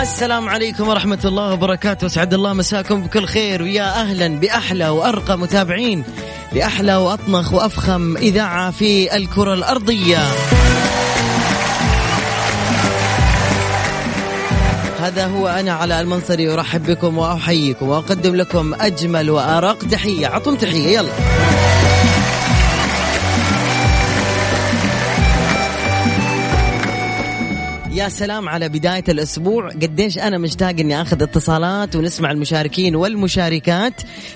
السلام عليكم ورحمة الله وبركاته أسعد الله مساكم بكل خير ويا أهلا بأحلى وأرقى متابعين لأحلى وأطنخ وأفخم إذاعة في الكرة الأرضية هذا هو أنا على المنصري أرحب بكم وأحييكم وأقدم لكم أجمل وأرق تحية عطم تحية يلا يا سلام على بداية الأسبوع قديش أنا مشتاق أني أخذ اتصالات ونسمع المشاركين والمشاركات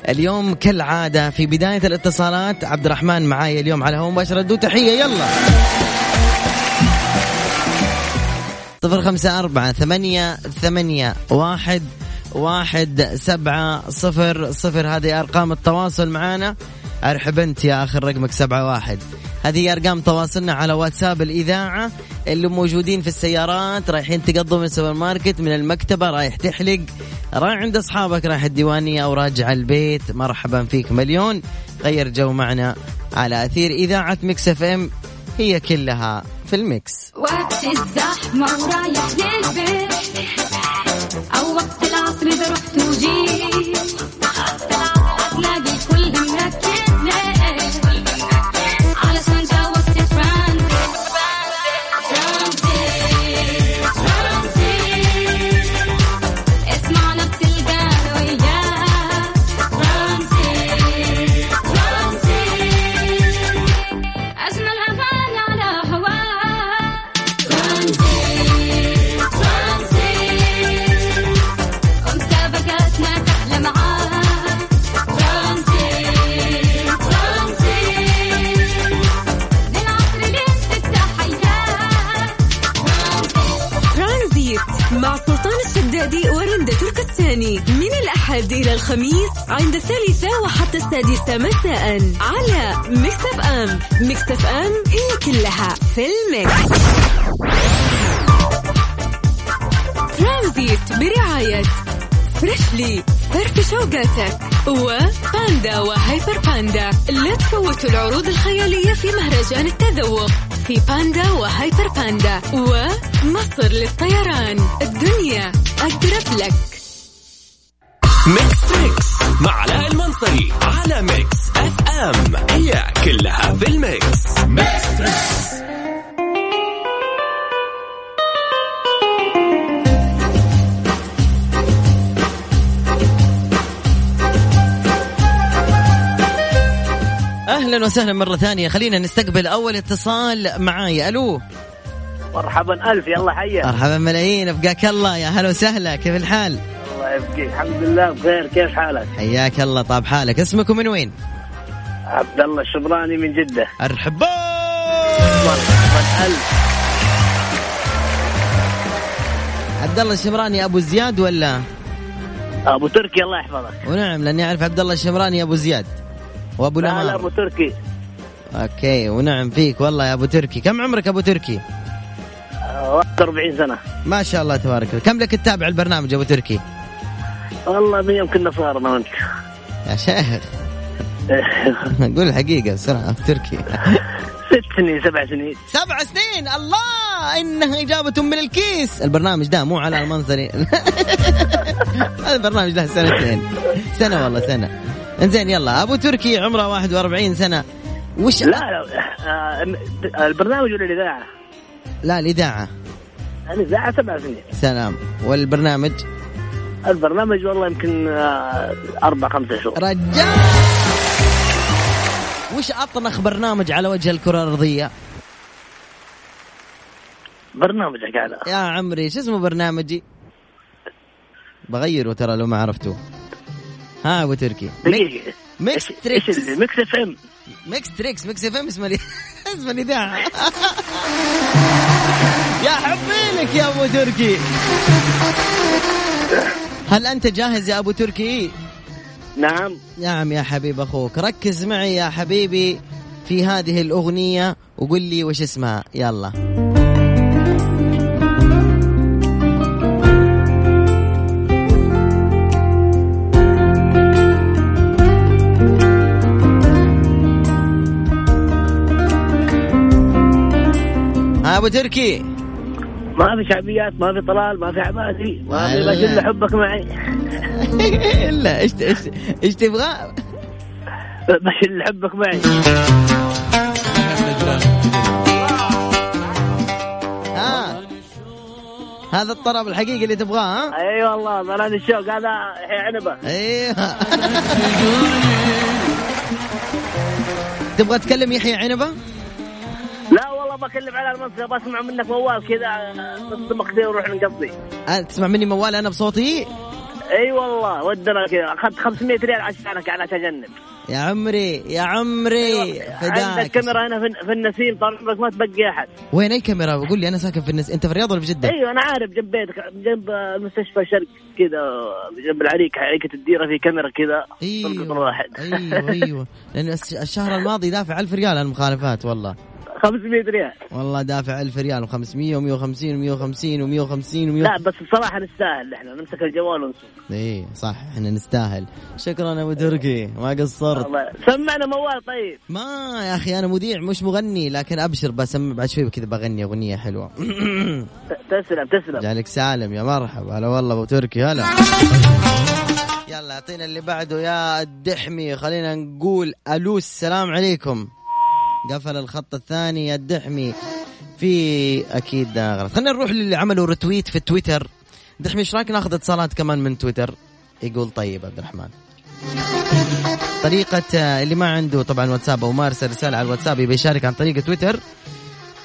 اليوم كالعادة في بداية الاتصالات عبد الرحمن معاي اليوم على هو مباشرة دو تحية يلا صفر خمسة أربعة ثمانية ثمانية واحد واحد سبعة صفر صفر هذه أرقام التواصل معنا أرحب أنت يا آخر رقمك سبعة واحد هذه هي أرقام تواصلنا على واتساب الإذاعة اللي موجودين في السيارات رايحين تقضوا من السوبر ماركت من المكتبة رايح تحلق رايح عند أصحابك رايح الديوانية أو راجع البيت مرحبا فيك مليون غير جو معنا على أثير إذاعة مكس اف ام هي كلها في المكس وقت الزحمة ورايح للبيت أو وقت العصر إذا رحت وجيت هتلاقي الكل مركز ليش؟ علشان جا وقت ترانزيت ترانزيت ترانزيت اسمعنا بتلقانا وياك ترانزيت ترانزيت أجمل أغاني على هواك ترانزيت ترانزيت ومسابقاتنا تحلى معاك ترانزيت ترانزيت من العصر لين تفتح حياك ترانزيت ترانزيت مع سلطان الشدادي ورندا تركستاني من الأحد إلى الخميس عند الثالثة وحتى السادسة مساء على ميكس أف أم ميكس أف أم هي كلها في الميكس ترانزيت برعاية فريشلي فرف شوقاتك وباندا وهايبر باندا لا تفوتوا العروض الخيالية في مهرجان التذوق في باندا وهايبر باندا ومصر للطيران الدنيا أقرب لك ميكس تريكس مع علاء المنصري على ميكس اف ام هي كلها في الميكس أهلا وسهلا مرة ثانية خلينا نستقبل أول اتصال معاي ألو مرحبا الف يلا حيا مرحبا ملايين أبقاك الله يا هلا وسهلا كيف الحال الله يبقيك الحمد لله بخير كيف حالك؟ حياك الله طاب حالك اسمك ومن وين عبد الله الشبراني من جده أرحبا مرحبا الف عبد الله الشمراني أبو زياد ولا ابو تركي الله يحفظك ونعم لأني أعرف عبد الله الشمراني أبو زياد وأبو لا لا ابو نمار تركي أوكي ونعم فيك والله يا أبو تركي كم عمرك أبو تركي 41 سنه ما شاء الله تبارك الله كم لك تتابع البرنامج أبو تركي والله من يوم كنا صغار انا وانت يا شيخ قول الحقيقة بسرعة أبو تركي ست سنين سبع سنين سبع سنين الله انها اجابه من الكيس البرنامج ده مو على المنصري هذا البرنامج ده سنتين سنه والله سنه انزين يلا ابو تركي عمره 41 سنه وش لا لا آه، البرنامج ولا الاذاعه؟ لا الاذاعه الاذاعه سبع سنين سلام والبرنامج البرنامج والله يمكن آه، اربع خمسة شهور رجال وش اطنخ برنامج على وجه الكره الارضيه برنامجك هذا يا عمري شو اسمه برنامجي بغيره ترى لو ما عرفتوه ها ابو تركي دقيقه ميكس إيش- تريكس. إيش اللي- ميكس اف ام ميكس تريكس ميكس اف ام اسم الإ- اسم الاذاعه يا حبي لك يا ابو تركي هل انت جاهز يا ابو تركي نعم نعم يا حبيب اخوك ركز معي يا حبيبي في هذه الاغنيه وقل لي وش اسمها يلا ها ابو تركي ما في شعبيات ما في طلال ما في عباسي ما في بس الا حبك معي لا ايش ايش ايش تبغى؟ بس الا حبك معي ها آه. هذا الطرب الحقيقي اللي تبغاه ها؟ اي أيوة والله مراد الشوق هذا عنبه ايوه تبغى تكلم يحيى عنبه؟ لا والله بكلم على المنصه بسمع منك موال كذا نص مقدي ونروح نقضي آه، تسمع مني موال انا بصوتي؟ اي والله ودنا كذا اخذت 500 ريال عشانك على تجنب يا عمري يا عمري أيوة، عندك إيه، فداك كاميرا هنا في- في النسيم طال عمرك ما تبقي احد وين اي كاميرا؟ قول لي انا ساكن في النس انت في الرياض ولا في جده؟ ايوه انا عارف جنب بيتك جنب المستشفى الشرق كذا جنب العريك عريكه الديره في كاميرا كذا أيوة. تلقط واحد ايوه ايوه لان الس- الشهر الماضي دافع 1000 ريال عن المخالفات والله 500 ريال والله دافع 1000 ريال و500 و150 و150 و150 لا بس بصراحه نستاهل احنا نمسك الجوال ونسوق اي إيه، صح احنا نستاهل شكرا ابو تركي ما قصرت الله سمعنا موال طيب ما يا اخي انا مذيع مش مغني لكن ابشر بسمع بعد شوي كذا بغني اغنيه حلوه ت- تسلم تسلم جالك سالم يا مرحبا هلا والله ابو تركي هلا يلا اعطينا اللي بعده يا الدحمي خلينا نقول الو السلام عليكم قفل الخط الثاني يا الدحمي في اكيد غلط خلينا نروح للي عملوا رتويت في تويتر دحمي ايش رايك ناخذ اتصالات كمان من تويتر يقول طيب عبد الرحمن طريقة آه، اللي ما عنده طبعا واتساب او ما ارسل رسالة على الواتساب يبي يشارك عن طريق تويتر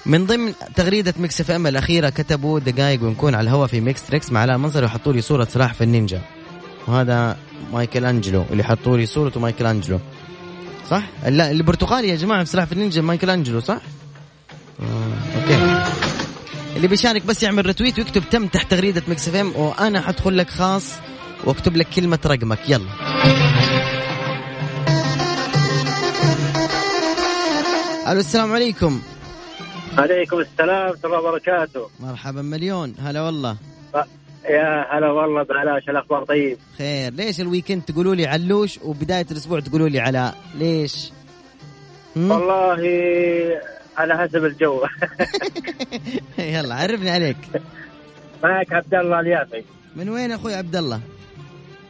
من ضمن تغريدة ميكس اف ام الأخيرة كتبوا دقائق ونكون على الهواء في ميكس تريكس مع علاء منصري وحطوا لي صورة سلاحف النينجا وهذا مايكل أنجلو اللي حطوا لي صورته مايكل أنجلو صح؟ لا البرتقالي يا جماعة في سلاحف النينجا مايكل أنجلو صح؟ آه، أوكي اللي بيشارك بس يعمل رتويت ويكتب تم تحت تغريدة ميكس اف ام وأنا حدخل لك خاص واكتب لك كلمة رقمك يلا الو السلام عليكم عليكم السلام ورحمه الله وبركاته مرحبا مليون هلا والله يا هلا والله بعلاش الاخبار طيب خير ليش الويكند تقولوا لي علوش وبداية الأسبوع تقولوا لي علاء ليش هم؟ والله على حسب الجو يلا عرفني عليك معك عبد الله اليافي من وين أخوي عبد الله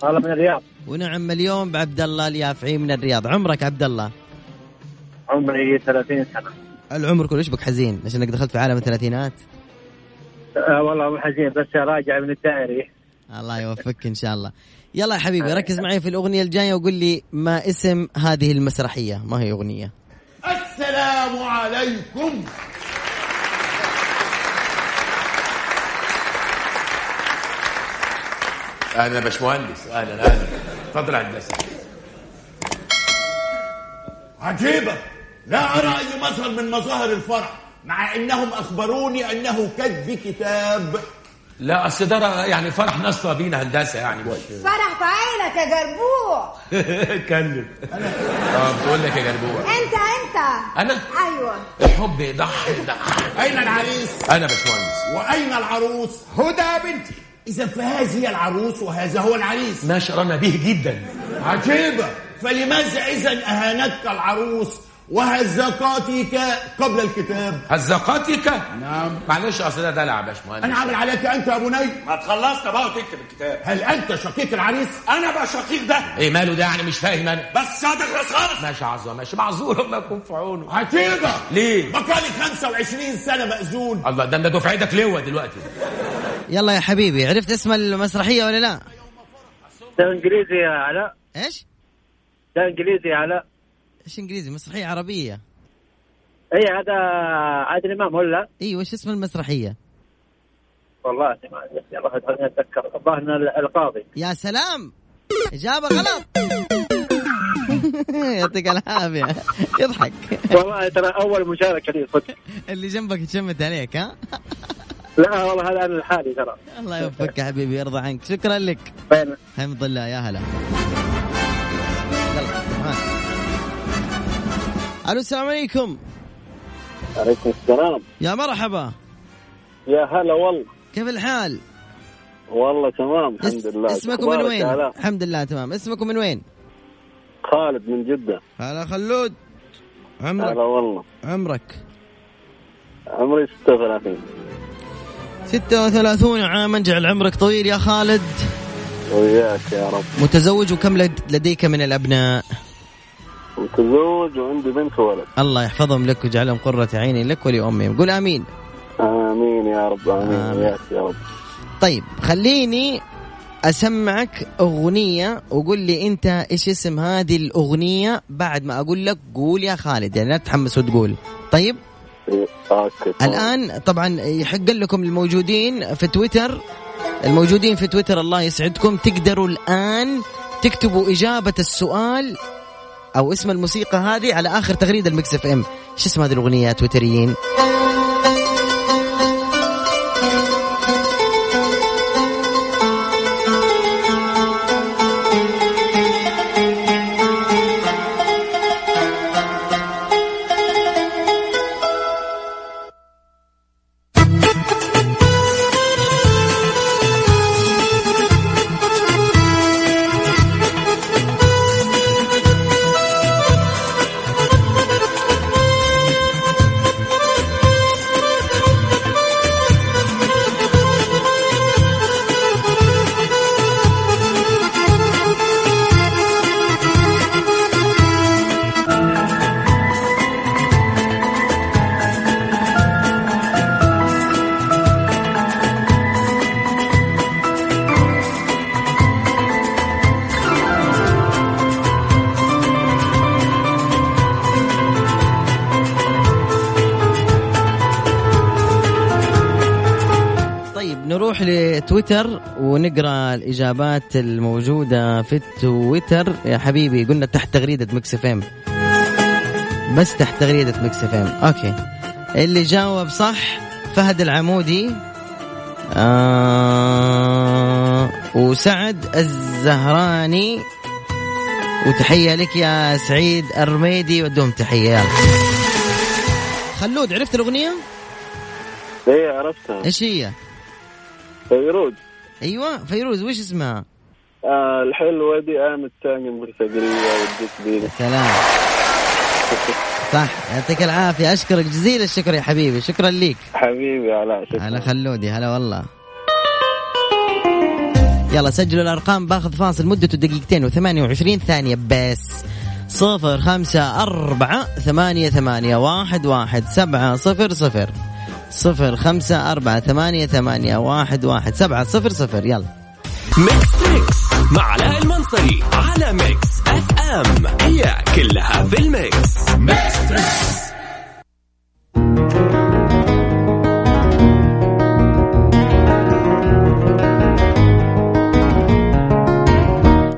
والله من الرياض ونعم مليون بعبد الله اليافعي من الرياض عمرك عبد الله عمري 30 سنه العمر كله ايش بك حزين عشانك دخلت في عالم الثلاثينات آه والله مو حزين بس راجع من الدائري الله يوفقك ان شاء الله يلا يا حبيبي ركز معي في الاغنيه الجايه وقول لي ما اسم هذه المسرحيه ما هي اغنيه السلام عليكم اهلا باشمهندس اهلا اهلا تفضل على الدسم عجيبة لا أرى أي مظهر من مظاهر الفرح مع أنهم أخبروني أنه كتب كتاب لا اصل ده يعني فرح ناس بينا هندسه يعني فرح في عينك يا جربوع اتكلم اه بتقول لك يا جربوع انت انت انا ايوه الحب يضحي يضحي أين العريس انا باشمهندس وأين العروس هدى بنتي إذا فهذه هي العروس وهذا هو العريس ما شرنا به جدا عجيبة فلماذا إذا أهانتك العروس وهزقاتك قبل الكتاب هزقاتك نعم معلش اصل ده دلع يا أنا باشمهندس عامل عليك أنت يا بني ما تخلصت بقى وتكتب الكتاب هل أنت شقيق العريس انا بقى شقيق ده ايه ماله ده يعني مش فاهم انا بس صادق راس خالص ماشي عظمه ماشي معذور الله يكون في عونه عجيبة ليه؟ بقالي 25 سنة مأذون الله ده ده دفعتك ليه دلوقتي يلا يا حبيبي عرفت اسم المسرحيه ولا لا ده انجليزي يا علاء ايش ده انجليزي يا علاء ايش انجليزي مسرحيه عربيه اي هذا عادل امام ولا ايوه ايش اسم المسرحيه والله ما أعرف. يلا خليني اتذكر الظاهر إنه القاضي يا سلام اجابه غلط يعطيك العافيه يضحك والله ترى اول مشاركه لي صدق اللي جنبك يشمت عليك ها لا والله هذا انا لحالي ترى الله يوفقك يا حبيبي يرضى عنك شكرا لك بين حمد الله يا هلا يلا، معاك. الو السلام عليكم عليكم السلام يا مرحبا يا هلا والله كيف الحال؟ والله تمام الحمد اس- لله اسمكم من أخبارك وين؟ يا هلا؟ الحمد لله تمام اسمكم من وين؟ خالد من جده هلا خلود هلا نعم. عمرك والله عمرك عمري 36 36 عاما جعل عمرك طويل يا خالد وياك يا رب متزوج وكم لد- لديك من الأبناء متزوج وعندي بنت وولد الله يحفظهم لك ويجعلهم قرة عيني لك ولأمهم قل آمين امين يا رب امين آمين. وياك يا رب طيب خليني اسمعك اغنيه وقول لي انت ايش اسم هذه الاغنيه بعد ما اقول لك قول يا خالد يعني لا تتحمس وتقول طيب اوكي تمام. الان طبعا يحق لكم الموجودين في تويتر الموجودين في تويتر الله يسعدكم تقدروا الان تكتبوا اجابه السؤال او اسم الموسيقى هذه على اخر تغريده المكس اف ام ايش اسم هذه الاغنيه يا تويتريين طيب نروح لتويتر ونقرا الاجابات الموجوده في التويتر يا حبيبي قلنا تحت تغريده مكس اف ام بس تحت تغريده مكس اف ام اوكي اللي جاوب صح فهد العمودي آه وسعد الزهراني وتحيه لك يا سعيد الرميدي ودهم تحيه يلا خلود عرفت الاغنيه؟ ايه عرفتها ايش هي؟ فيروز ايوه فيروز وش اسمها؟ آه الحلوه دي قامت تاني مرتقليه وديت بينا سلام صح يعطيك العافية أشكرك جزيل الشكر يا حبيبي شكرا ليك حبيبي علاء شكرا هلا خلودي هلا والله يلا سجلوا الأرقام باخذ فاصل مدته دقيقتين وثمانية وعشرين ثانية بس صفر خمسة أربعة ثمانية ثمانية واحد واحد سبعة صفر صفر صفر خمسة أربعة ثمانية ثمانية واحد واحد سبعة صفر صفر يلا ميكس تريكس مع علاء المنصري على ميكس اف ام هي كلها في الميكس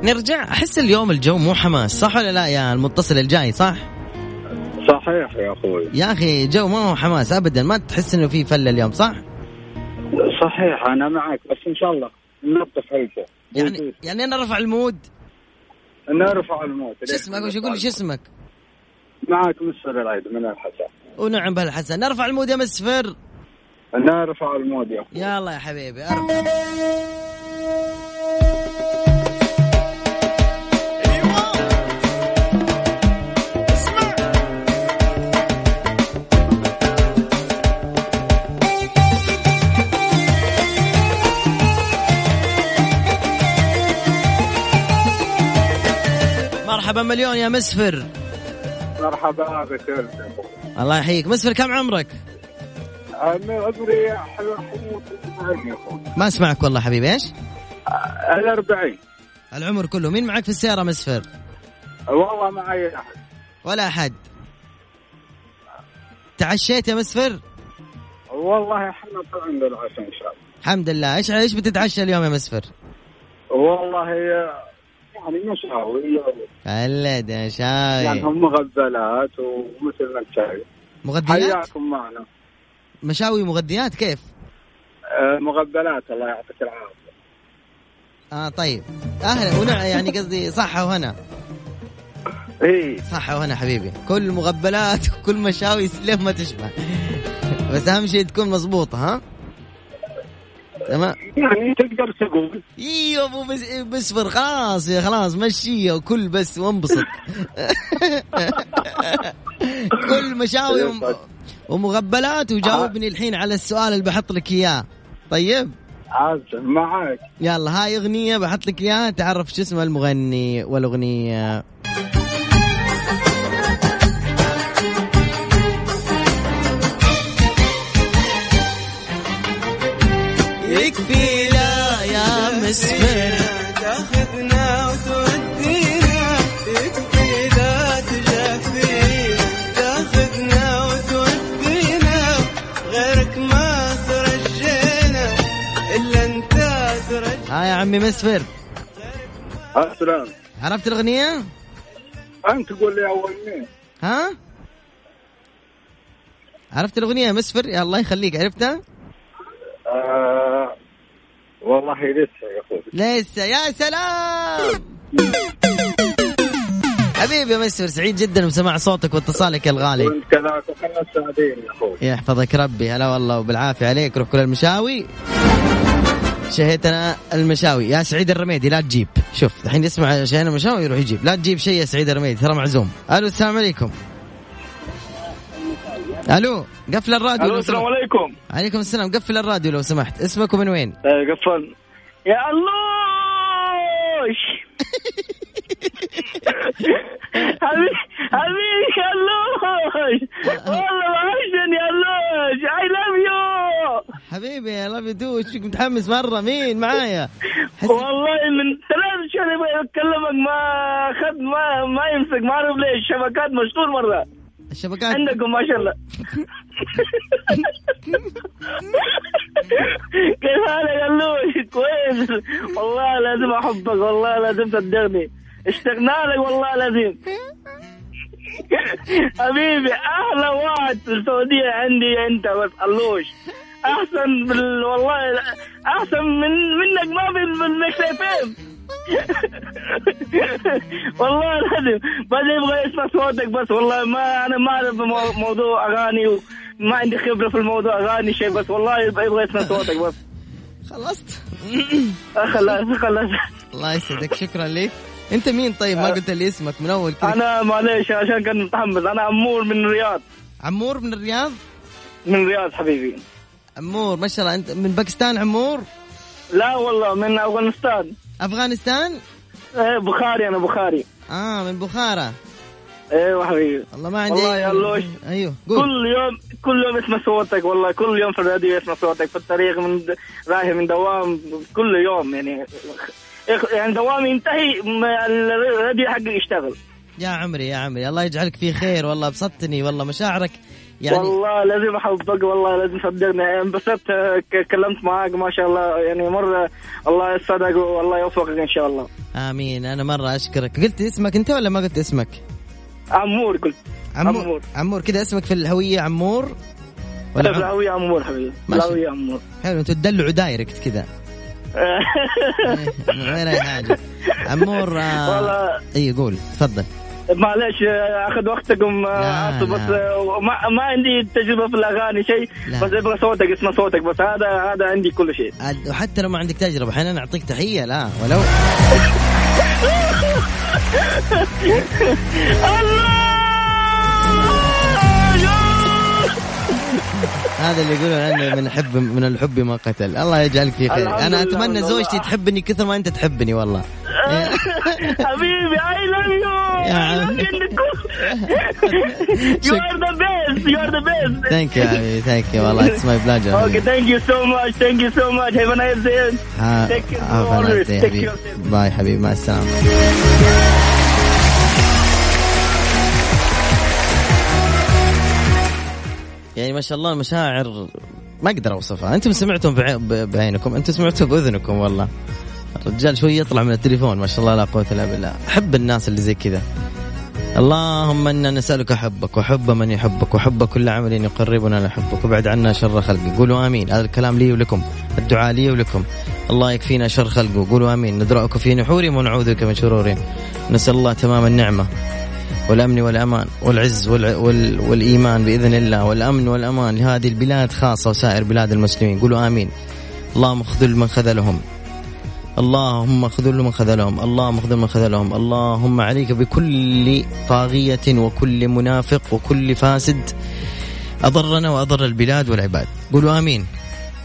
نرجع أحس اليوم الجو مو حماس صح ولا لا يا المتصل الجاي صح؟ صحيح يا اخوي يا اخي جو ما هو حماس ابدا ما تحس انه في فله اليوم صح؟ صحيح انا معك بس ان شاء الله نلطف هلسه يعني يعني انا رفع المود نرفع الموت شو اسمك وش يقول لي شو اسمك؟ معك مستر العيد من الحسن ونعم بهالحسن نرفع المود يا مسفر نرفع الموت يا اخوي يلا يا حبيبي ارفع مرحبا مليون يا مسفر مرحبا بك الله يحييك مسفر كم عمرك؟ انا عمري حلو حلو يا اخوي ما اسمعك والله حبيبي ايش؟ الأربعين العمر كله مين معك في السيارة مسفر؟ والله معي أحد ولا أحد تعشيت يا مسفر؟ والله احنا طالعين للعشاء ان شاء الله الحمد لله ايش ايش بتتعشى اليوم يا مسفر؟ والله يعني مشاوي خلد يا يعني شاي هم مغبلات ومثل ما انت شايف مغذيات حياكم معنا مشاوي مغذيات كيف؟ آه، مغبلات الله يعطيك العافيه اه طيب اهلا ونع يعني قصدي صحة وهنا اي صحة وهنا حبيبي كل مغبلات وكل مشاوي ليه ما تشبه بس اهم شيء تكون مضبوطة ها؟ تمام يعني تقدر تقول ايوه ابو بس بسفر خلاص يا خلاص مشيها وكل بس وانبسط كل مشاوي وم- ومغبلات وجاوبني الحين على السؤال اللي بحط لك اياه طيب عازم معاك يلا هاي اغنية بحط لك اياها تعرف شو اسم المغني والاغنية يكفي لا يا مسمر تاخذنا وتودينا يكفي لا تجفينا تاخذنا وتودينا غيرك ما ترجينا الا انت ترجينا ها يا عمي مسفر السلام عرفت الاغنية؟ انت قول لي اول مين ها؟ عرفت الاغنية يا مسفر؟ يا الله يخليك عرفتها؟ آه والله لسه يا اخوي لسه يا سلام حبيبي يا مسفر سعيد جدا بسماع صوتك واتصالك يا الغالي وانت كذاك وكنا سعيدين يا اخوي يحفظك ربي هلا والله وبالعافيه عليك روح كل المشاوي شهيتنا المشاوي يا سعيد الرميدي لا تجيب شوف الحين يسمع شهينا المشاوي يروح يجيب لا تجيب شيء يا سعيد الرميدي ترى معزوم الو السلام عليكم الو قفل الراديو لو سمحت. عليكم عليكم السلام قفل الراديو لو سمحت اسمك ومن وين آه، قفل يا الله حبيبي حبيبي يا اللوش والله وحشني يا اللوش اي لاف يو حبيبي يا لاف يو شكلك متحمس مره مين معايا حس- والله من ثلاث شهور يبغى اكلمك ما اخذ ما ما يمسك ما اعرف ليش الشبكات مشطور مره الشبكات عندكم ما شاء الله كيف حالك يا اللوش كويس والله لازم احبك والله لازم تصدقني اشتقنا لك والله لازم حبيبي احلى واحد في السعوديه عندي انت بس اللوش احسن بال... والله لا- احسن من منك ما في بالمكس والله لازم بس يبغى يسمع صوتك بس والله ما انا ما اعرف مو- موضوع اغاني وما عندي خبره في الموضوع اغاني شيء بس والله يبغى يبغى يسمع صوتك بس خلصت آه، خلاص خلاص الله يسعدك شكرا لك انت مين طيب أه. ما قلت لي اسمك من اول كده انا معليش عشان كان متحمس انا امور من الرياض عمور من الرياض من الرياض حبيبي عمور ما شاء الله انت من باكستان عمور لا والله من افغانستان افغانستان ايه بخاري انا بخاري اه من بخارى ايوه حبيبي والله ما عندي والله أي- يا اللوش. ايوه قول كل يوم كل يوم اسمع صوتك والله كل يوم في الراديو اسمع صوتك في الطريق من د- رايح من دوام كل يوم يعني إخ- يعني دوامي ينتهي م- الراديو حقي يشتغل يا عمري يا عمري الله يجعلك فيه خير والله ابسطتني والله مشاعرك يعني والله لازم احبك والله لازم صدقني انبسطت آه، ك- كلمت معاك ما شاء الله يعني مره الله يصدق والله يوفقك ان شاء الله امين انا مره اشكرك قلت اسمك انت ولا ما قلت اسمك عمور قلت عمور عمور. عمور كذا اسمك في الهويه عمور ولا عم... لاوي عمور حبيبي ماشي. لاوي عمور حلو انتوا تدلعوا دايركت كذا إيه، غير اي حاجه عمور آه... والله اي قول تفضل معلش آه، اخذ وقتكم آه، لا، عطوا بس لا. آه، ما, ما عندي تجربه في الاغاني شيء لا. بس ابغى صوتك اسمع صوتك بس هذا هذا عندي كل شيء عاد- آه، وحتى لو ما عندك تجربه احيانا اعطيك تحيه لا ولو هذا اللي يقولون عنه من حب من الحب ما قتل الله يجعلك في خير الحمد انا لله، اتمنى والله. زوجتي تحبني كثر ما انت تحبني والله حبيبي اي لاف يا عم. يو يو ار ذا بيست يو ار ذا بيست ثانك يو حبيبي ثانك يو والله اتس ماي اوكي بلاجر ثانك يو سو ماتش ثانك يو سو ماتش هاف ا نايس داي Take care, always. Take care of yourself. باي حبيبي مع السلامه يعني ما شاء الله المشاعر ما اقدر اوصفها انتم سمعتم بعي- ب- بعينكم انتم سمعتوا باذنكم والله الرجال شوي يطلع من التليفون ما شاء الله لا قوه الا بالله احب الناس اللي زي كذا اللهم انا نسالك حبك وحب من يحبك وحب كل عمل يقربنا لحبك وابعد عنا شر خلقك قولوا امين هذا الكلام لي ولكم الدعاء لي ولكم الله يكفينا شر خلقه قولوا امين ندرأك في نحورهم ونعوذ بك من شرورهم نسال الله تمام النعمه والامن والامان والعز والع... وال... والايمان باذن الله والامن والامان لهذه البلاد خاصه وسائر بلاد المسلمين قولوا امين اللهم خذل من خذلهم اللهم خذل من خذلهم اللهم خذل من خذلهم اللهم عليك بكل طاغية وكل منافق وكل فاسد أضرنا وأضر البلاد والعباد قولوا آمين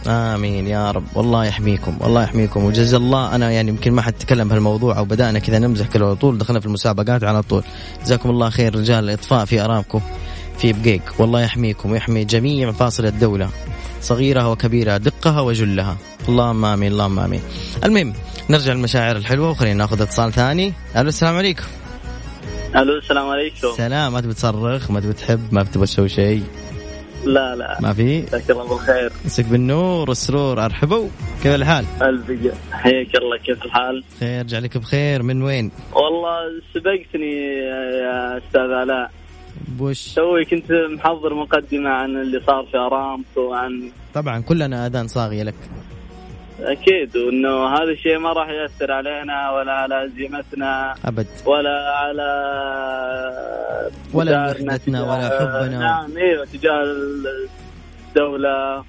امين يا رب والله يحميكم والله يحميكم وجزا الله انا يعني يمكن ما حد تكلم بهالموضوع او بدانا كذا نمزح كذا على طول دخلنا في المسابقات على طول جزاكم الله خير رجال الاطفاء في ارامكو في بقيق والله يحميكم ويحمي جميع مفاصل الدوله صغيرها وكبيرها دقها وجلها اللهم امين اللهم امين المهم نرجع للمشاعر الحلوه وخلينا ناخذ اتصال ثاني الو السلام عليكم الو السلام عليكم سلام ما تبي تصرخ ما تبي تحب ما تبي تسوي شيء لا لا ما في مساك الله بالخير مسك بالنور والسرور ارحبوا كيف الحال الف حياك الله كيف الحال؟ خير رجع لك بخير من وين والله سبقتني يا استاذ علاء بوش توي كنت محضر مقدمه عن اللي صار في ارامكو وعن طبعا كلنا اذان صاغيه لك اكيد وانه هذا الشيء ما راح ياثر علينا ولا على زيمتنا ابد ولا على ولا مشاعرنا وحدتنا تجاه- ولا حبنا. نعم ايوه تجاه الدوله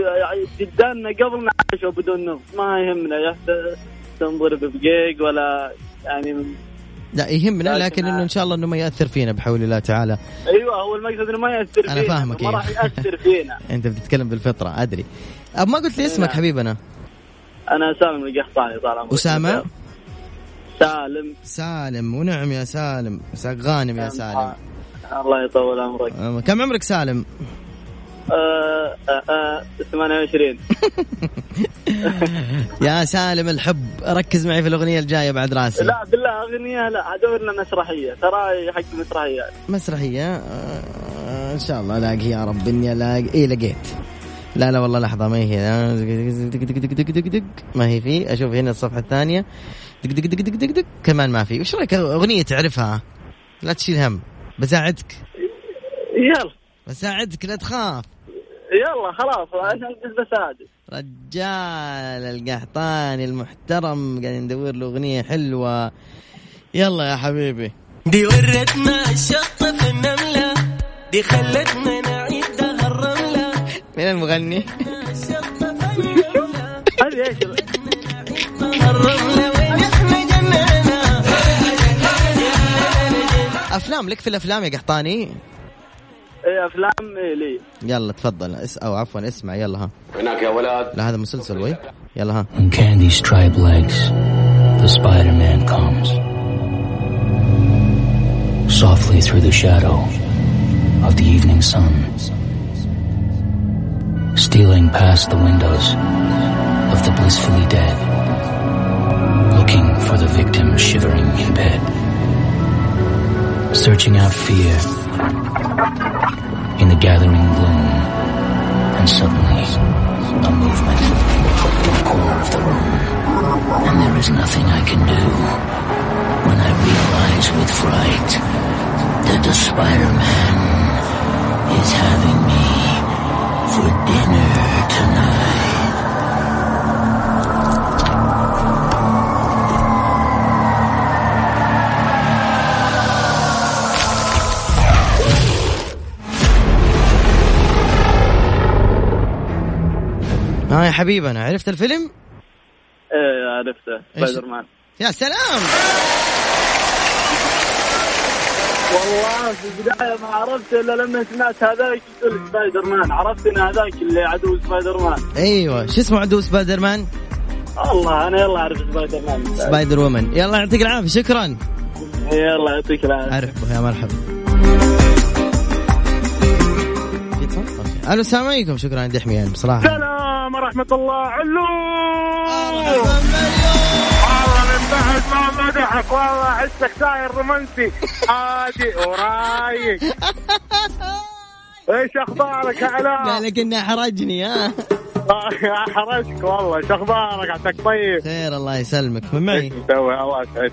وجدالنا قبل نعيش بدون نفط ما يهمنا يا ت- تنضرب بدقيق ولا يعني لا يهمنا لكن انه ان شاء الله انه ما ياثر فينا بحول الله تعالى ايوه هو المقصد انه ما ياثر أنا فينا فاهمك، ما إيه. راح ياثر فينا انت بتتكلم بالفطره ادري أب ما قلت لي اسمك نعم. حبيبنا انا سالم القحطاني طال عمرك اسامه سالم سالم ونعم يا سالم مساك غانم يا سالم الله يطول عمرك أم- كم عمرك سالم؟ آه آه آه 28 يا سالم الحب ركز معي في الاغنيه الجايه بعد راسي لا بالله اغنيه لا دورنا مسرحيه ترى حق مسرحيات مسرحية آه، آه، إن شاء الله ألاقي يا رب إني ألاقي إيه لقيت لا لا والله لحظة ما هي هنا دق دق دق دق دق دق ما هي في أشوف هنا الصفحة الثانية دق دق دق دق دق دق كمان ما في وش رأيك أغنية تعرفها لا تشيل هم بساعدك يلا بساعدك لا تخاف يلا خلاص انا بس بساعدك رجال القحطاني المحترم قاعدين ندور له أغنية حلوة يلا يا حبيبي دي ورتنا الشط في النملة دي خلتنا نعيد دهر الرملة من المغني الشط في النملة هذه ايش الرملة وين احنا جنانا أفلام لك في الأفلام يا قحطاني إيه افلام إيه لي يلا تفضل اس او عفوا اسمع يلا ها هناك يا ولد لا هذا مسلسل وي يلا ها On Candy's striped legs, the Spider Man comes. Softly through the shadow of the evening sun. Stealing past the windows of the blissfully dead. Looking for the victim shivering in bed. Searching out fear in the gathering gloom. And suddenly, a movement in the corner of the room. And there is nothing I can do when I realize with fright that the Spider-Man is having me for dinner tonight. ها يا حبيبنا عرفت الفيلم؟ ايه عرفته سبايدر مان يا سلام والله في البدايه ما عرفت الا لما سمعت هذاك يقول سبايدر مان عرفت ان هذاك اللي عدو سبايدر مان ايوه شو اسمه عدو سبايدر مان؟ الله انا يلا اعرف سبايدر مان سبايدر وومن يلا يعطيك العافيه شكرا يلا يعطيك العافيه ارحبوا يا مرحبا في اتصال؟ أوكي. الو السلام عليكم شكرا عندي يعني، حميان بصراحه السلام ورحمة الله علو والله من بعد ما مدحك والله احسك ساير رومانسي هادي ورايق ايش اخبارك يا علاء؟ قال لك انه احرجني ها احرجك والله ايش اخبارك عساك طيب؟ خير الله يسلمك من معي ايش مسوي الله يسعدك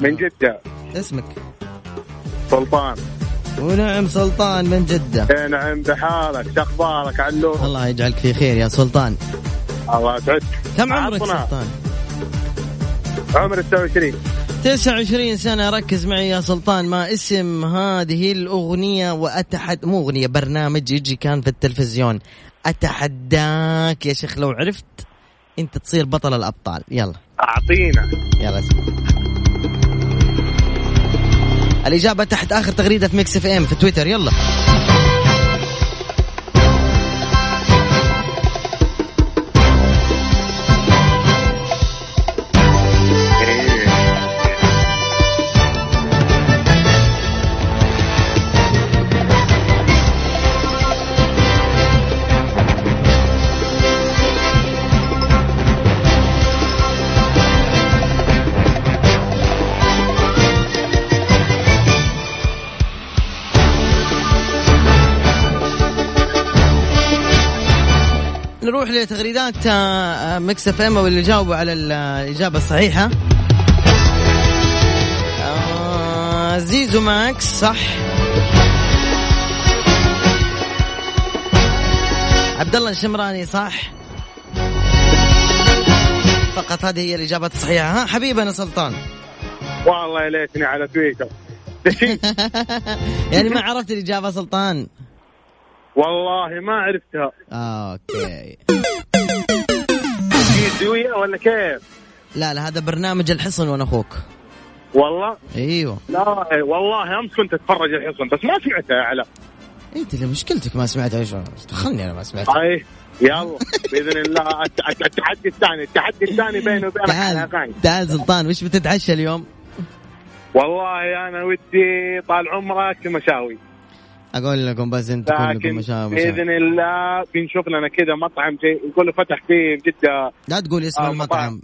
من جدة اسمك سلطان ونعم سلطان من جده اي نعم بحالك شو اخبارك علو؟ الله يجعلك في خير يا سلطان الله يسعدك كم عمرك عطنا. سلطان؟ عمري 26 29 سنة ركز معي يا سلطان ما اسم هذه الأغنية وأتحد مو أغنية برنامج يجي كان في التلفزيون أتحداك يا شيخ لو عرفت أنت تصير بطل الأبطال يلا اعطينا يلا اسمع الإجابة تحت آخر تغريدة في ميكس اف ام في تويتر يلا نروح لتغريدات مكس اف ام واللي جاوبوا على الاجابه الصحيحه آه، زيزو ماكس صح عبد الله الشمراني صح فقط هذه هي الاجابات الصحيحه ها حبيبنا سلطان والله يا ليتني على تويتر دشيت يعني ما عرفت الاجابه سلطان والله ما عرفتها آه، اوكي زوية ولا كيف؟ لا لا هذا برنامج الحصن وانا اخوك والله ايوه لا والله امس كنت اتفرج الحصن بس ما سمعتها يا علاء انت اللي مشكلتك ما سمعت ايش دخلني انا ما سمعت اي يلا باذن الله الت- الت- التحدي الثاني التحدي الثاني بيني وبينك حلقان تعال تعال سلطان وش بتتعشى اليوم؟ والله انا ودي طال عمرك مشاوي اقول لكم بس انت كلكم لكن مشا مشا باذن الله بنشوف لنا كذا مطعم جي يقول فتح في جده لا تقول اسم آه، المطعم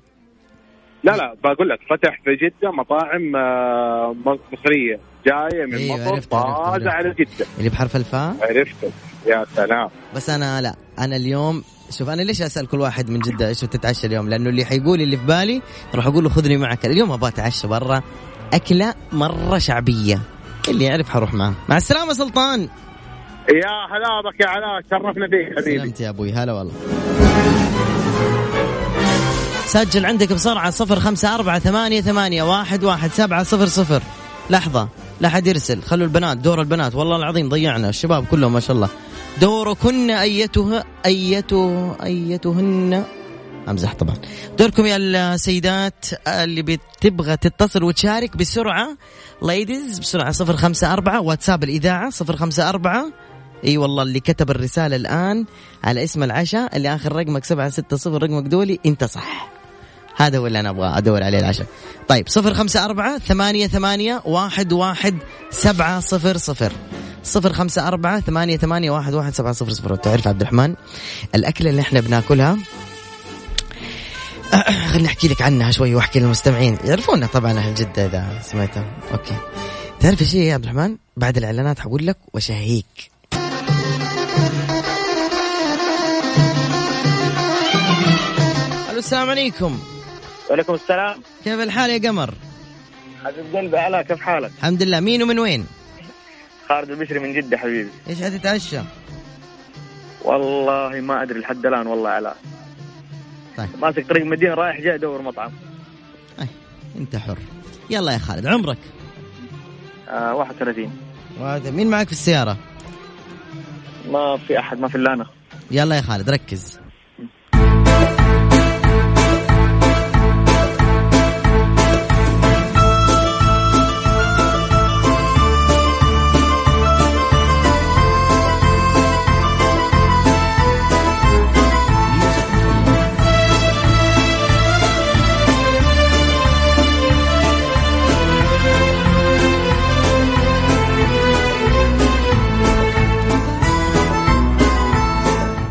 لا لا بقول لك فتح في جده مطاعم آه، مصريه جايه من أيوة، مصر عرفت- عرفت- طازه على جده اللي بحرف الفاء عرفت يا سلام بس انا لا انا اليوم شوف انا ليش اسال كل واحد من جده ايش بتتعشى اليوم؟ لانه اللي حيقول اللي في بالي راح اقول له خذني معك اليوم ابغى اتعشى برا اكله مره شعبيه اللي يعرف حروح معاه مع السلامه سلطان يا هلا بك يا علاء شرفنا فيك حبيبي سلمت يا ابوي هلا والله سجل عندك بسرعة صفر خمسة أربعة ثمانية ثمانية واحد واحد سبعة صفر صفر لحظة لا حد يرسل خلوا البنات دور البنات والله العظيم ضيعنا الشباب كلهم ما شاء الله دوركن أيتها أيته أيتهن أمزح طبعا دوركم يا السيدات اللي بتبغى تتصل وتشارك بسرعة ليديز بسرعة صفر خمسة أربعة واتساب الإذاعة صفر خمسة أربعة اي والله اللي كتب الرساله الان على اسم العشاء اللي اخر رقمك 760 رقمك دولي انت صح هذا هو اللي انا ابغى ادور عليه العشاء طيب 054 ثمانية ثمانية واحد واحد سبعة صفر صفر صفر خمسة أربعة ثمانية ثمانية واحد واحد سبعة صفر صفر تعرف عبد الرحمن الأكلة اللي احنا بناكلها خليني أحكي لك عنها شوي وأحكي للمستمعين يعرفونا طبعا أهل جدة إذا سمعتها أوكي تعرف ايش هي يا عبد الرحمن بعد الإعلانات حقول لك وشهيك الو السلام عليكم وعليكم السلام كيف الحال يا قمر؟ حبيب قلبي علاء كيف حالك؟ الحمد لله مين ومن وين؟ خالد البشري من جدة حبيبي ايش حتتعشى؟ والله ما ادري لحد الان والله علاء طيب. ماسك طريق مدينة رايح جاي ادور مطعم انت حر يلا يا خالد عمرك آه 31 وهذا مين معك في السيارة؟ ما في احد ما في الا انا يلا يا خالد ركز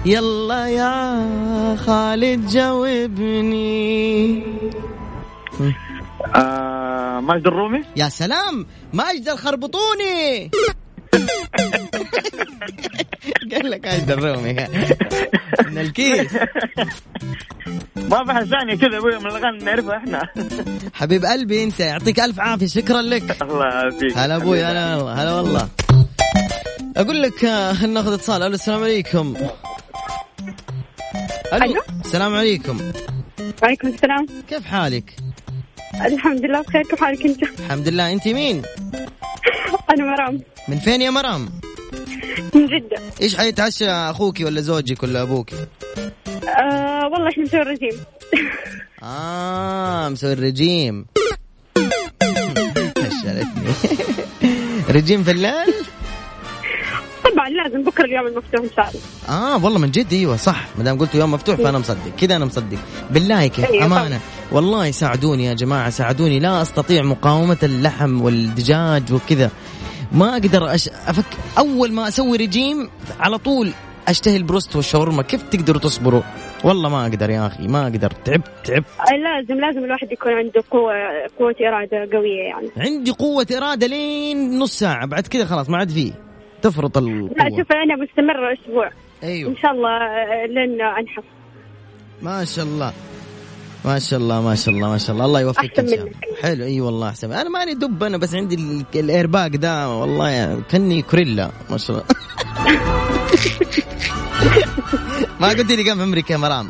يلا يا خالد جاوبني آه ماجد الرومي يا سلام ماجد الخربطوني قال لك ماجد الرومي من الكيس ما في احد ثاني كذا أبوي من الاغاني اللي نعرفها احنا حبيب قلبي انت يعطيك الف عافيه شكرا لك الله يعافيك هلا ابوي هلا والله هلا والله اقول لك آه، خلينا ناخذ اتصال الو السلام عليكم الو السلام عليكم وعليكم السلام كيف حالك؟ الحمد لله بخير كيف حالك انت؟ الحمد لله انت مين؟ انا مرام من فين يا مرام؟ من جدة ايش حيتعشى اخوك ولا زوجك ولا ابوك؟ آه والله احنا مسوي الرجيم اه مسوي الرجيم فشلتني رجيم في الليل؟ طبعا لازم بكره اليوم المفتوح ان شاء الله اه والله من جد ايوه صح ما دام قلتوا يوم مفتوح فانا مصدق كذا انا مصدق بالله كيف أيوة. امانه والله ساعدوني يا جماعه ساعدوني لا استطيع مقاومه اللحم والدجاج وكذا ما اقدر أش... افك اول ما اسوي رجيم على طول اشتهي البروست والشاورما كيف تقدروا تصبروا والله ما اقدر يا اخي ما اقدر تعبت تعبت آه لازم لازم الواحد يكون عنده قوة قوة إرادة قوية يعني عندي قوه اراده لين نص ساعه بعد كذا خلاص ما عاد فيه تفرط لا القوه شوف أنا مستمرة أسبوع ايوه ان شاء الله آه، لن انحف ما شاء الله ما شاء الله ما شاء الله ما شاء الله الله يوفقك أحسن ان شاء الله حلو اي والله احسن انا ماني دب انا بس عندي ال- الايرباك ده والله يعني كني كوريلا ما شاء الله ما قلت لي كم عمرك يا مرام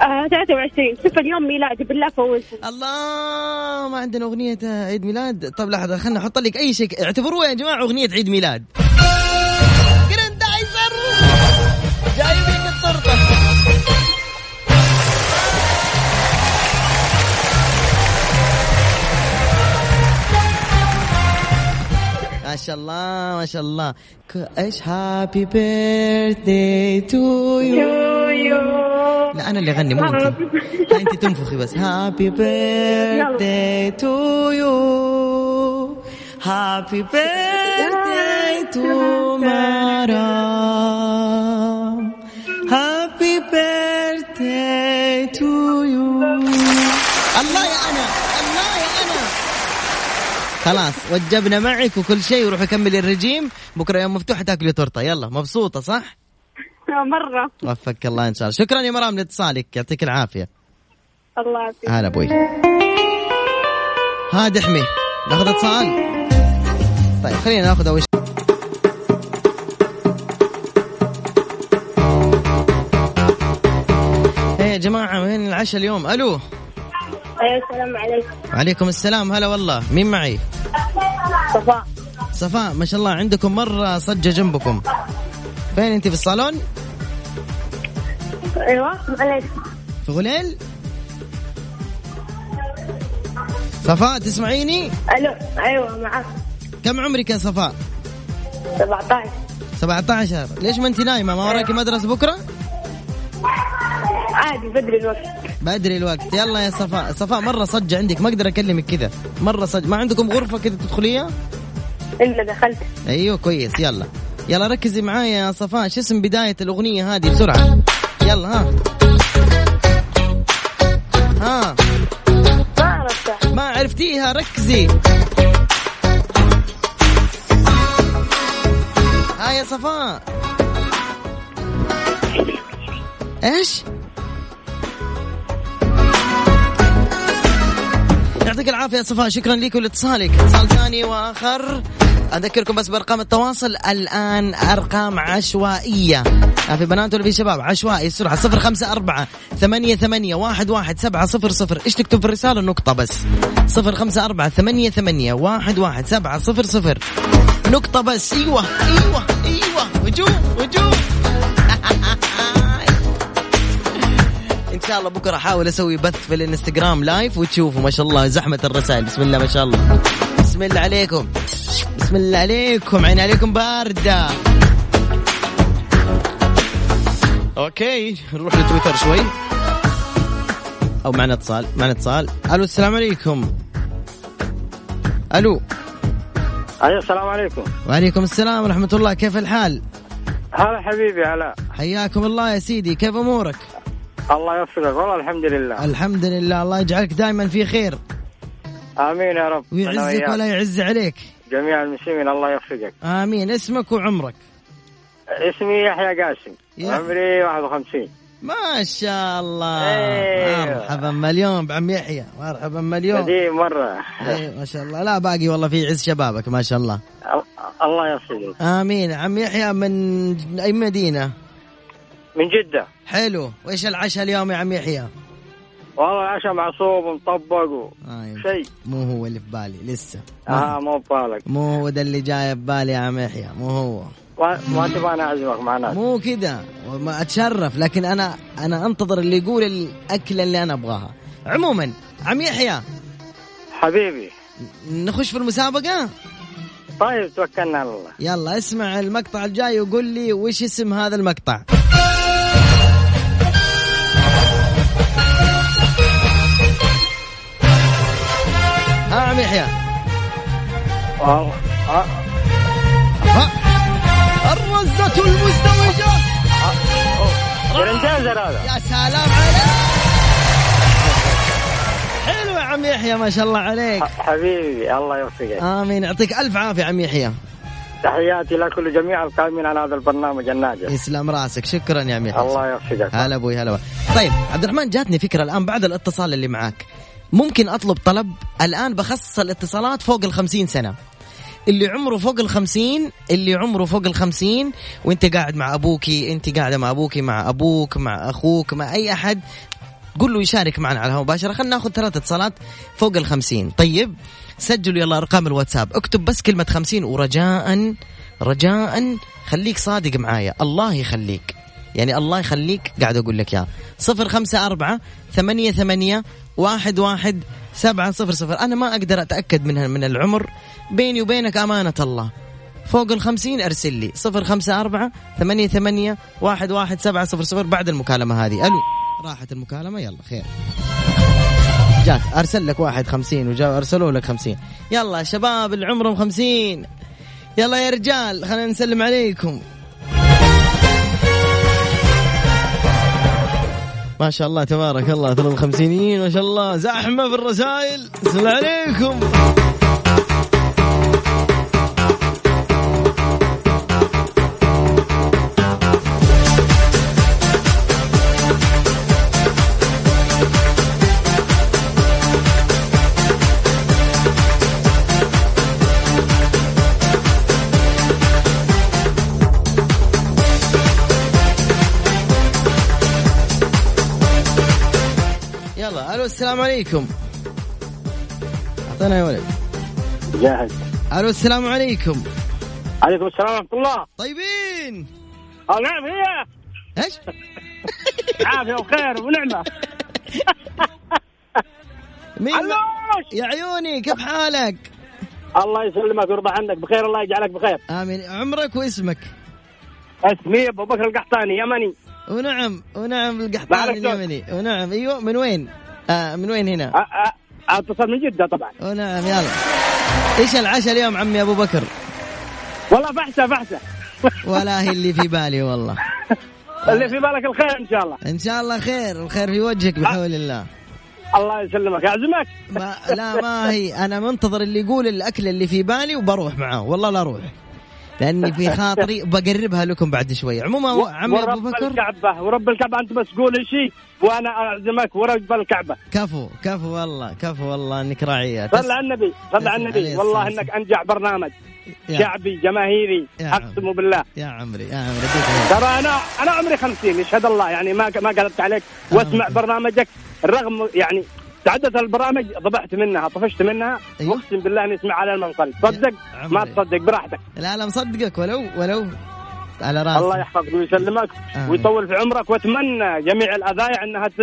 آه 23 شوف اليوم ميلادي بالله فوز الله ما عندنا اغنيه عيد ميلاد طب لحظه خلنا احط لك اي شيء اعتبروها يا جماعه اغنيه عيد ميلاد جراندايزر جايبين الطرطة ما شاء الله ما شاء الله ك- ايش هابي بيرثدي تو يو لا انا اللي اغني مو انت لا، انت تنفخي بس هابي بيرثدي تو يو هابي بيرثدي تو مرام هابي بيرثدي تو يو الله يا انا الله يا انا خلاص وجبنا معك وكل شيء وروح يكمل الرجيم بكره يوم مفتوح تاكلي تورته يلا مبسوطه صح مره وفقك الله ان شاء الله شكرا يا مرام لاتصالك يعطيك العافيه الله يعافيك هلا ابوي ها دحمي ناخذ اتصال طيب خلينا ناخذ اول شيء إيه يا جماعة وين العشاء اليوم؟ ألو أيوة، السلام عليكم عليكم السلام هلا والله مين معي؟ صفاء صفاء ما شاء الله عندكم مرة صجة جنبكم فين أنت في الصالون؟ ايوه معليش في غليل؟ صفاء تسمعيني؟ الو ايوه معك كم عمرك يا صفاء؟ 17 17 ليش ما انت نايمه ما وراكي مدرسه بكره عادي بدري الوقت بدري الوقت يلا يا صفاء صفاء مره صج عندك ما اقدر اكلمك كذا مره صج ما عندكم غرفه كذا تدخليها الا دخلت ايوه كويس يلا يلا ركزي معايا يا صفاء شو اسم بدايه الاغنيه هذه بسرعه يلا ها ها ما عرفتها ما عرفتيها ركزي ها يا صفاء ايش؟ يعطيك العافية يا صفاء شكرا لك ولاتصالك اتصال ثاني واخر اذكركم بس بارقام التواصل الان ارقام عشوائيه لا آه، في بنات ولا في شباب عشوائي السرعه 054 88 11700 ايش تكتب في الرساله نقطه بس 054 88 11700 نقطه بس ايوه ايوه ايوه وجوه وجوه ان شاء الله بكره احاول اسوي بث في الانستغرام لايف وتشوفوا ما شاء الله زحمه الرسائل بسم الله ما شاء الله بسم الله عليكم بسم الله عليكم عين عليكم بارده اوكي نروح لتويتر شوي او معنا اتصال معنا اتصال الو السلام عليكم الو أيوة، ايوه السلام عليكم وعليكم السلام ورحمه الله كيف الحال هلا حبيبي هلا حياكم الله يا سيدي كيف امورك الله يوفقك والله الحمد لله الحمد لله الله يجعلك دائما في خير امين يا رب أنا ويعزك وياك. ولا يعز عليك جميع المسلمين الله يوفقك امين اسمك وعمرك اسمي يحيى قاسم يا- عمري 51 ما شاء الله إيه. مرحبا مليون بعم يحيى مرحبا مليون قديم مره إيه، ما شاء الله لا باقي والله في عز شبابك ما شاء الله ال- الله يوفقك امين عم يحيى من اي مدينه من جده حلو وايش العشاء اليوم يا عم يحيى والله العشاء معصوب ومطبق و... آه شيء مو هو اللي في بالي لسه اه مو ببالك مو هو ده اللي جاي ببالي يا عم يحيى مو هو ما ما تبغى انا اعزمك مع ناس مو كذا وما اتشرف لكن انا انا انتظر اللي يقول الاكله اللي انا ابغاها عموما عم يحيى حبيبي نخش في المسابقه طيب توكلنا على الله يلا اسمع المقطع الجاي وقول لي وش اسم هذا المقطع ها عم نعم، يحيى والله آه. الرزة المزدوجة جرندازر هذا يا سلام عليك حلو يا عم يحيى ما شاء الله عليك حبيبي الله يوفقك امين يعطيك الف عافيه عم يحيى تحياتي لكل جميع القائمين على هذا البرنامج الناجح يسلم راسك شكرا يا ميحوس الله يوفقك هلا ابوي هلا طيب عبد الرحمن جاتني فكره الان بعد الاتصال اللي معاك ممكن اطلب طلب الان بخصص الاتصالات فوق ال 50 سنه اللي عمره فوق ال 50 اللي عمره فوق ال 50 وانت قاعد مع ابوكي انت قاعده مع ابوكي مع ابوك مع اخوك مع اي احد قول له يشارك معنا على الهواء مباشره خلينا ناخذ ثلاث اتصالات فوق ال 50 طيب سجلوا يلا ارقام الواتساب اكتب بس كلمه 50 ورجاء رجاء خليك صادق معايا الله يخليك يعني الله يخليك قاعد اقول لك يا صفر خمسة أربعة ثمانية ثمانية واحد واحد سبعة صفر صفر أنا ما أقدر أتأكد من من العمر بيني وبينك أمانة الله فوق الخمسين أرسل لي صفر خمسة أربعة ثمانية ثمانية واحد واحد سبعة صفر صفر بعد المكالمة هذه ألو راحت المكالمة يلا خير جاك أرسل لك واحد خمسين وجا أرسلوا لك خمسين يلا شباب اللي عمرهم خمسين يلا يا رجال خلينا نسلم عليكم ما شاء الله تبارك الله ترى الخمسينيين ما شاء الله زحمة في الرسائل السلام عليكم يلا الو السلام عليكم اعطينا يا ولد جاهز الو السلام عليكم عليكم السلام ورحمه الله طيبين اه نعم هي ايش؟ عافيه وخير ونعمه مين يا عيوني كيف حالك؟ الله يسلمك ويرضى عنك بخير الله يجعلك بخير امين عمرك واسمك اسمي ابو بكر القحطاني يمني ونعم ونعم معلش القحطاني لو- اليمني ونعم ايوه من وين؟ آه من وين هنا؟ أه. اتصل من جده طبعا ونعم يلا ايش العشاء اليوم عمي ابو بكر؟ والله فحسه فحسه ولا هي اللي في بالي والله اللي في بالك الخير ان شاء الله ان شاء الله خير الخير في وجهك بحول الله الله يسلمك اعزمك ما لا ما هي انا منتظر اللي يقول الاكل اللي في بالي وبروح معاه والله لا اروح لاني في خاطري بقربها لكم بعد شوي عموما عمي ابو ورب بكر الكعبه ورب الكعبه انت مسؤول شيء وانا اعزمك ورب الكعبه كفو كفو والله كفو والله انك راعيه تس- صلى على النبي صلى على النبي عليه والله الصلاة انك انجع برنامج يا- شعبي جماهيري يا عم. اقسم بالله يا عمري يا عمري أديك الهنا. ترى انا انا عمري 50 يشهد الله يعني ما ما قلبت عليك واسمع برنامجك رغم يعني تعدد البرامج ضبحت منها طفشت منها أيوه. اقسم بالله اني اسمع على المنصل تصدق ما عمري. تصدق براحتك لا لا مصدقك ولو ولو على راسي الله يحفظك ويسلمك آمين. ويطول في عمرك واتمنى جميع الاذايع انها ت...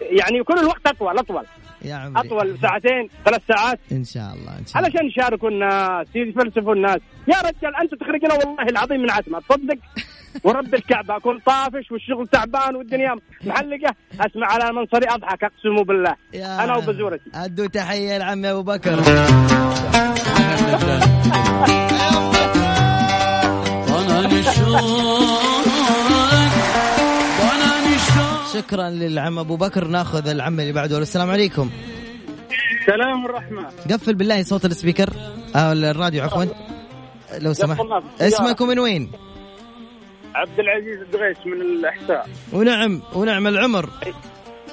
يعني يكون الوقت اطول اطول يا عمري اطول ساعتين ثلاث ساعات ان شاء الله ان شاء الله علشان يشاركوا الناس يفلسفوا الناس يا رجال انت تخرجنا والله العظيم من عتمه تصدق ورب الكعبه اكون طافش والشغل تعبان والدنيا محلقه اسمع على المنصري اضحك اقسم بالله يا- انا وبزورتي ادوا تحيه لعمي ابو بكر وانا مشوق وانا مشوق شكرا للعم ابو بكر ناخذ العم اللي بعده السلام عليكم سلام الرحمة قفل بالله صوت السبيكر او الراديو عفوا لو سمحت قفلناه في السيارة. اسمك ومن وين عبد العزيز الدغيش من الاحساء ونعم ونعم العمر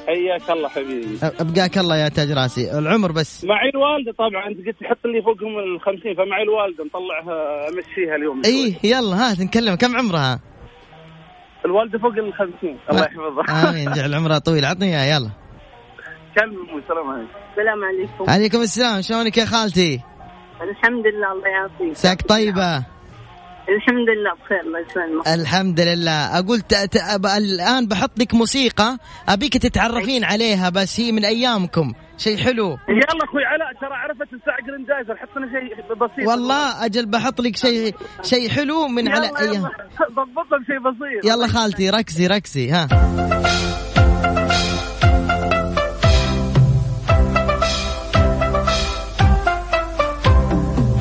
حياك الله حبيبي ابقاك الله يا تاج راسي العمر بس معي الوالدة طبعا انت قلت حط اللي فوقهم ال 50 فمعي الوالدة مطلعها امشيها اليوم ايه يلا ها نكلم كم عمرها الوالدة فوق ال 50 آه. الله يحفظها امين جعل عمرها طويل عطني اياها يلا كلموا السلام عليكم السلام عليكم عليكم السلام شلونك يا خالتي الحمد لله الله يعافيك ساك طيبه الحمد لله بخير الله يسلمك الحمد لله اقول ت... ت... أب... الان بحط لك موسيقى ابيك تتعرفين عليها بس هي من ايامكم شيء حلو يلا اخوي علاء ترى عرفت الساعة جرين جايزر حط لنا شيء بسيط والله اجل بحط لك شيء شيء حلو من على يلا ايام يلا ضبطها بشيء بسيط يلا خالتي ركزي ركزي ها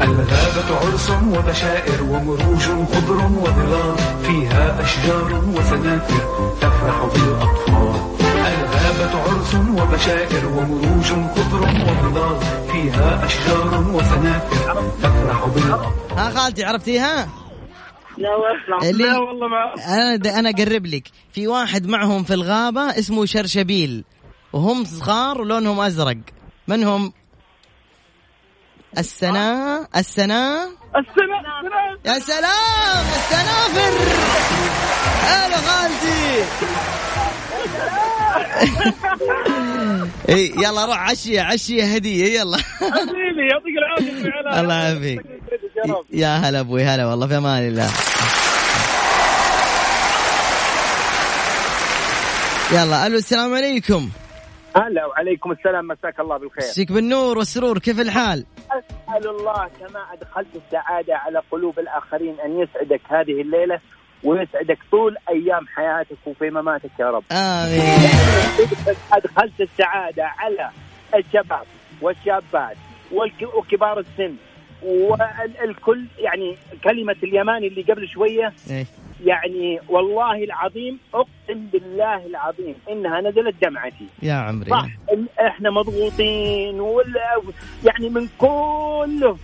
الغابة عرس وبشائر ومروج خضر وظلال فيها أشجار وسنافر تفرح بالأطفال الغابة الكعبة عرس وبشائر ومروج خضر وخضار فيها أشجار وفنافر تفرح بالأرض ها خالتي عرفتيها؟ لا والله اللي- لا والله ما انا د- انا اقرب لك في واحد معهم في الغابه اسمه شرشبيل وهم صغار ولونهم ازرق من هم السناء السناء السلام يا سلام السنافر هلا خالتي إيه، يلا روح عشية عشية هدية يلا حبيبي يعطيك العافيه الله يعافيك يا هلا ابوي هلا والله في امان الله يلا الو السلام عليكم هلا وعليكم السلام مساك الله بالخير مسيك بالنور والسرور كيف الحال؟ اسال الله كما ادخلت السعاده على قلوب الاخرين ان يسعدك هذه الليله ويسعدك طول ايام حياتك وفي مماتك يا رب امين ادخلت السعاده على الشباب والشابات والك- وكبار السن والكل يعني كلمه اليماني اللي قبل شويه إيه. يعني والله العظيم اقسم بالله العظيم انها نزلت دمعتي يا عمري صح إن احنا مضغوطين ولا يعني من كله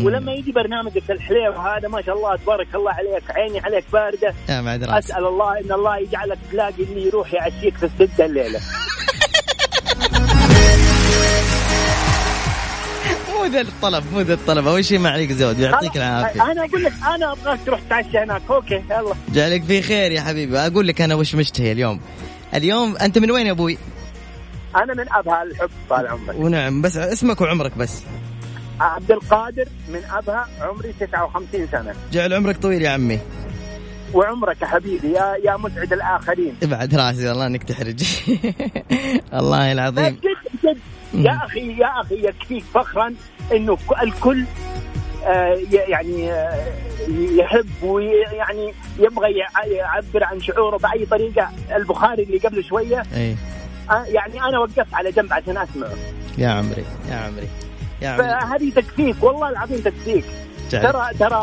ولما يجي برنامجك الحليو هذا ما شاء الله تبارك الله عليك عيني عليك بارده يا بعد راسي اسال الله ان الله يجعلك تلاقي اللي يروح يعشيك في السته الليله مو ذا الطلب مو ذا الطلب اول شيء ما عليك زود يعطيك العافيه انا اقول لك انا ابغاك تروح تعشى هناك اوكي يلا جعلك في خير يا حبيبي اقول لك انا وش مشتهي اليوم اليوم انت من وين يا ابوي؟ انا من ابها الحب طال عمرك ونعم بس اسمك وعمرك بس عبد القادر من ابها عمري 59 سنه جعل عمرك طويل يا عمي وعمرك يا حبيبي يا يا مسعد الاخرين ابعد راسي والله انك تحرج والله العظيم جد جد يا اخي يا اخي يكفيك فخرا انه ك- الكل آه، ي- يعني آه، يحب ويعني يبغى يع- يعبر عن شعوره باي طريقه البخاري اللي قبل شويه اي آه، يعني انا وقفت على جنب عشان اسمعه يا عمري يا عمري يا عمري فهذه تكفيك والله العظيم تكفيك جعلك. ترى ترى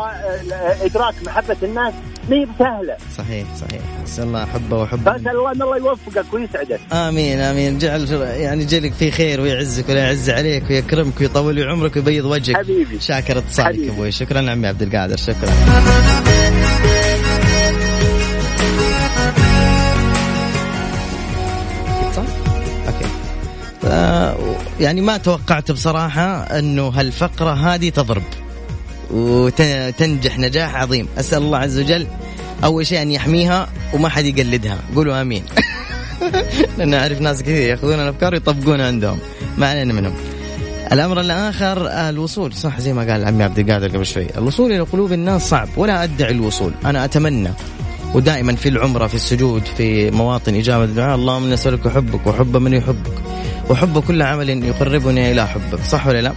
آه، ادراك محبه الناس ما هي بسهله صحيح صحيح نسال الله حبه وحبه فاسال الله ان الله يوفقك ويسعدك امين امين جعل يعني جلك في خير ويعزك ولا يعز عليك ويكرمك ويطول لي عمرك ويبيض وجهك حبيبي شاكر اتصالك يا ابوي شكرا عمي عبد القادر شكرا صح؟ اوكي ف- يعني ما توقعت بصراحة أنه هالفقرة هذه تضرب وتنجح نجاح عظيم أسأل الله عز وجل أول شيء أن يحميها وما حد يقلدها قولوا آمين لأن أعرف ناس كثير يأخذون الأفكار ويطبقونها عندهم ما علينا منهم الأمر الآخر آه، الوصول صح زي ما قال عمي عبد القادر قبل شوي الوصول إلى قلوب الناس صعب ولا أدعي الوصول أنا أتمنى ودائما في العمرة في السجود في مواطن إجابة الدعاء اللهم نسألك حبك وحب من يحبك وحب كل عمل يقربني إلى حبك صح ولا لا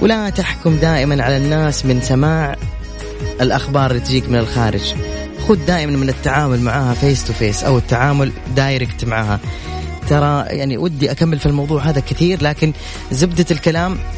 ولا تحكم دائما على الناس من سماع الأخبار اللي تجيك من الخارج خذ دائما من التعامل معها فيس تو فيس أو التعامل دايركت معها ترى يعني ودي أكمل في الموضوع هذا كثير لكن زبدة الكلام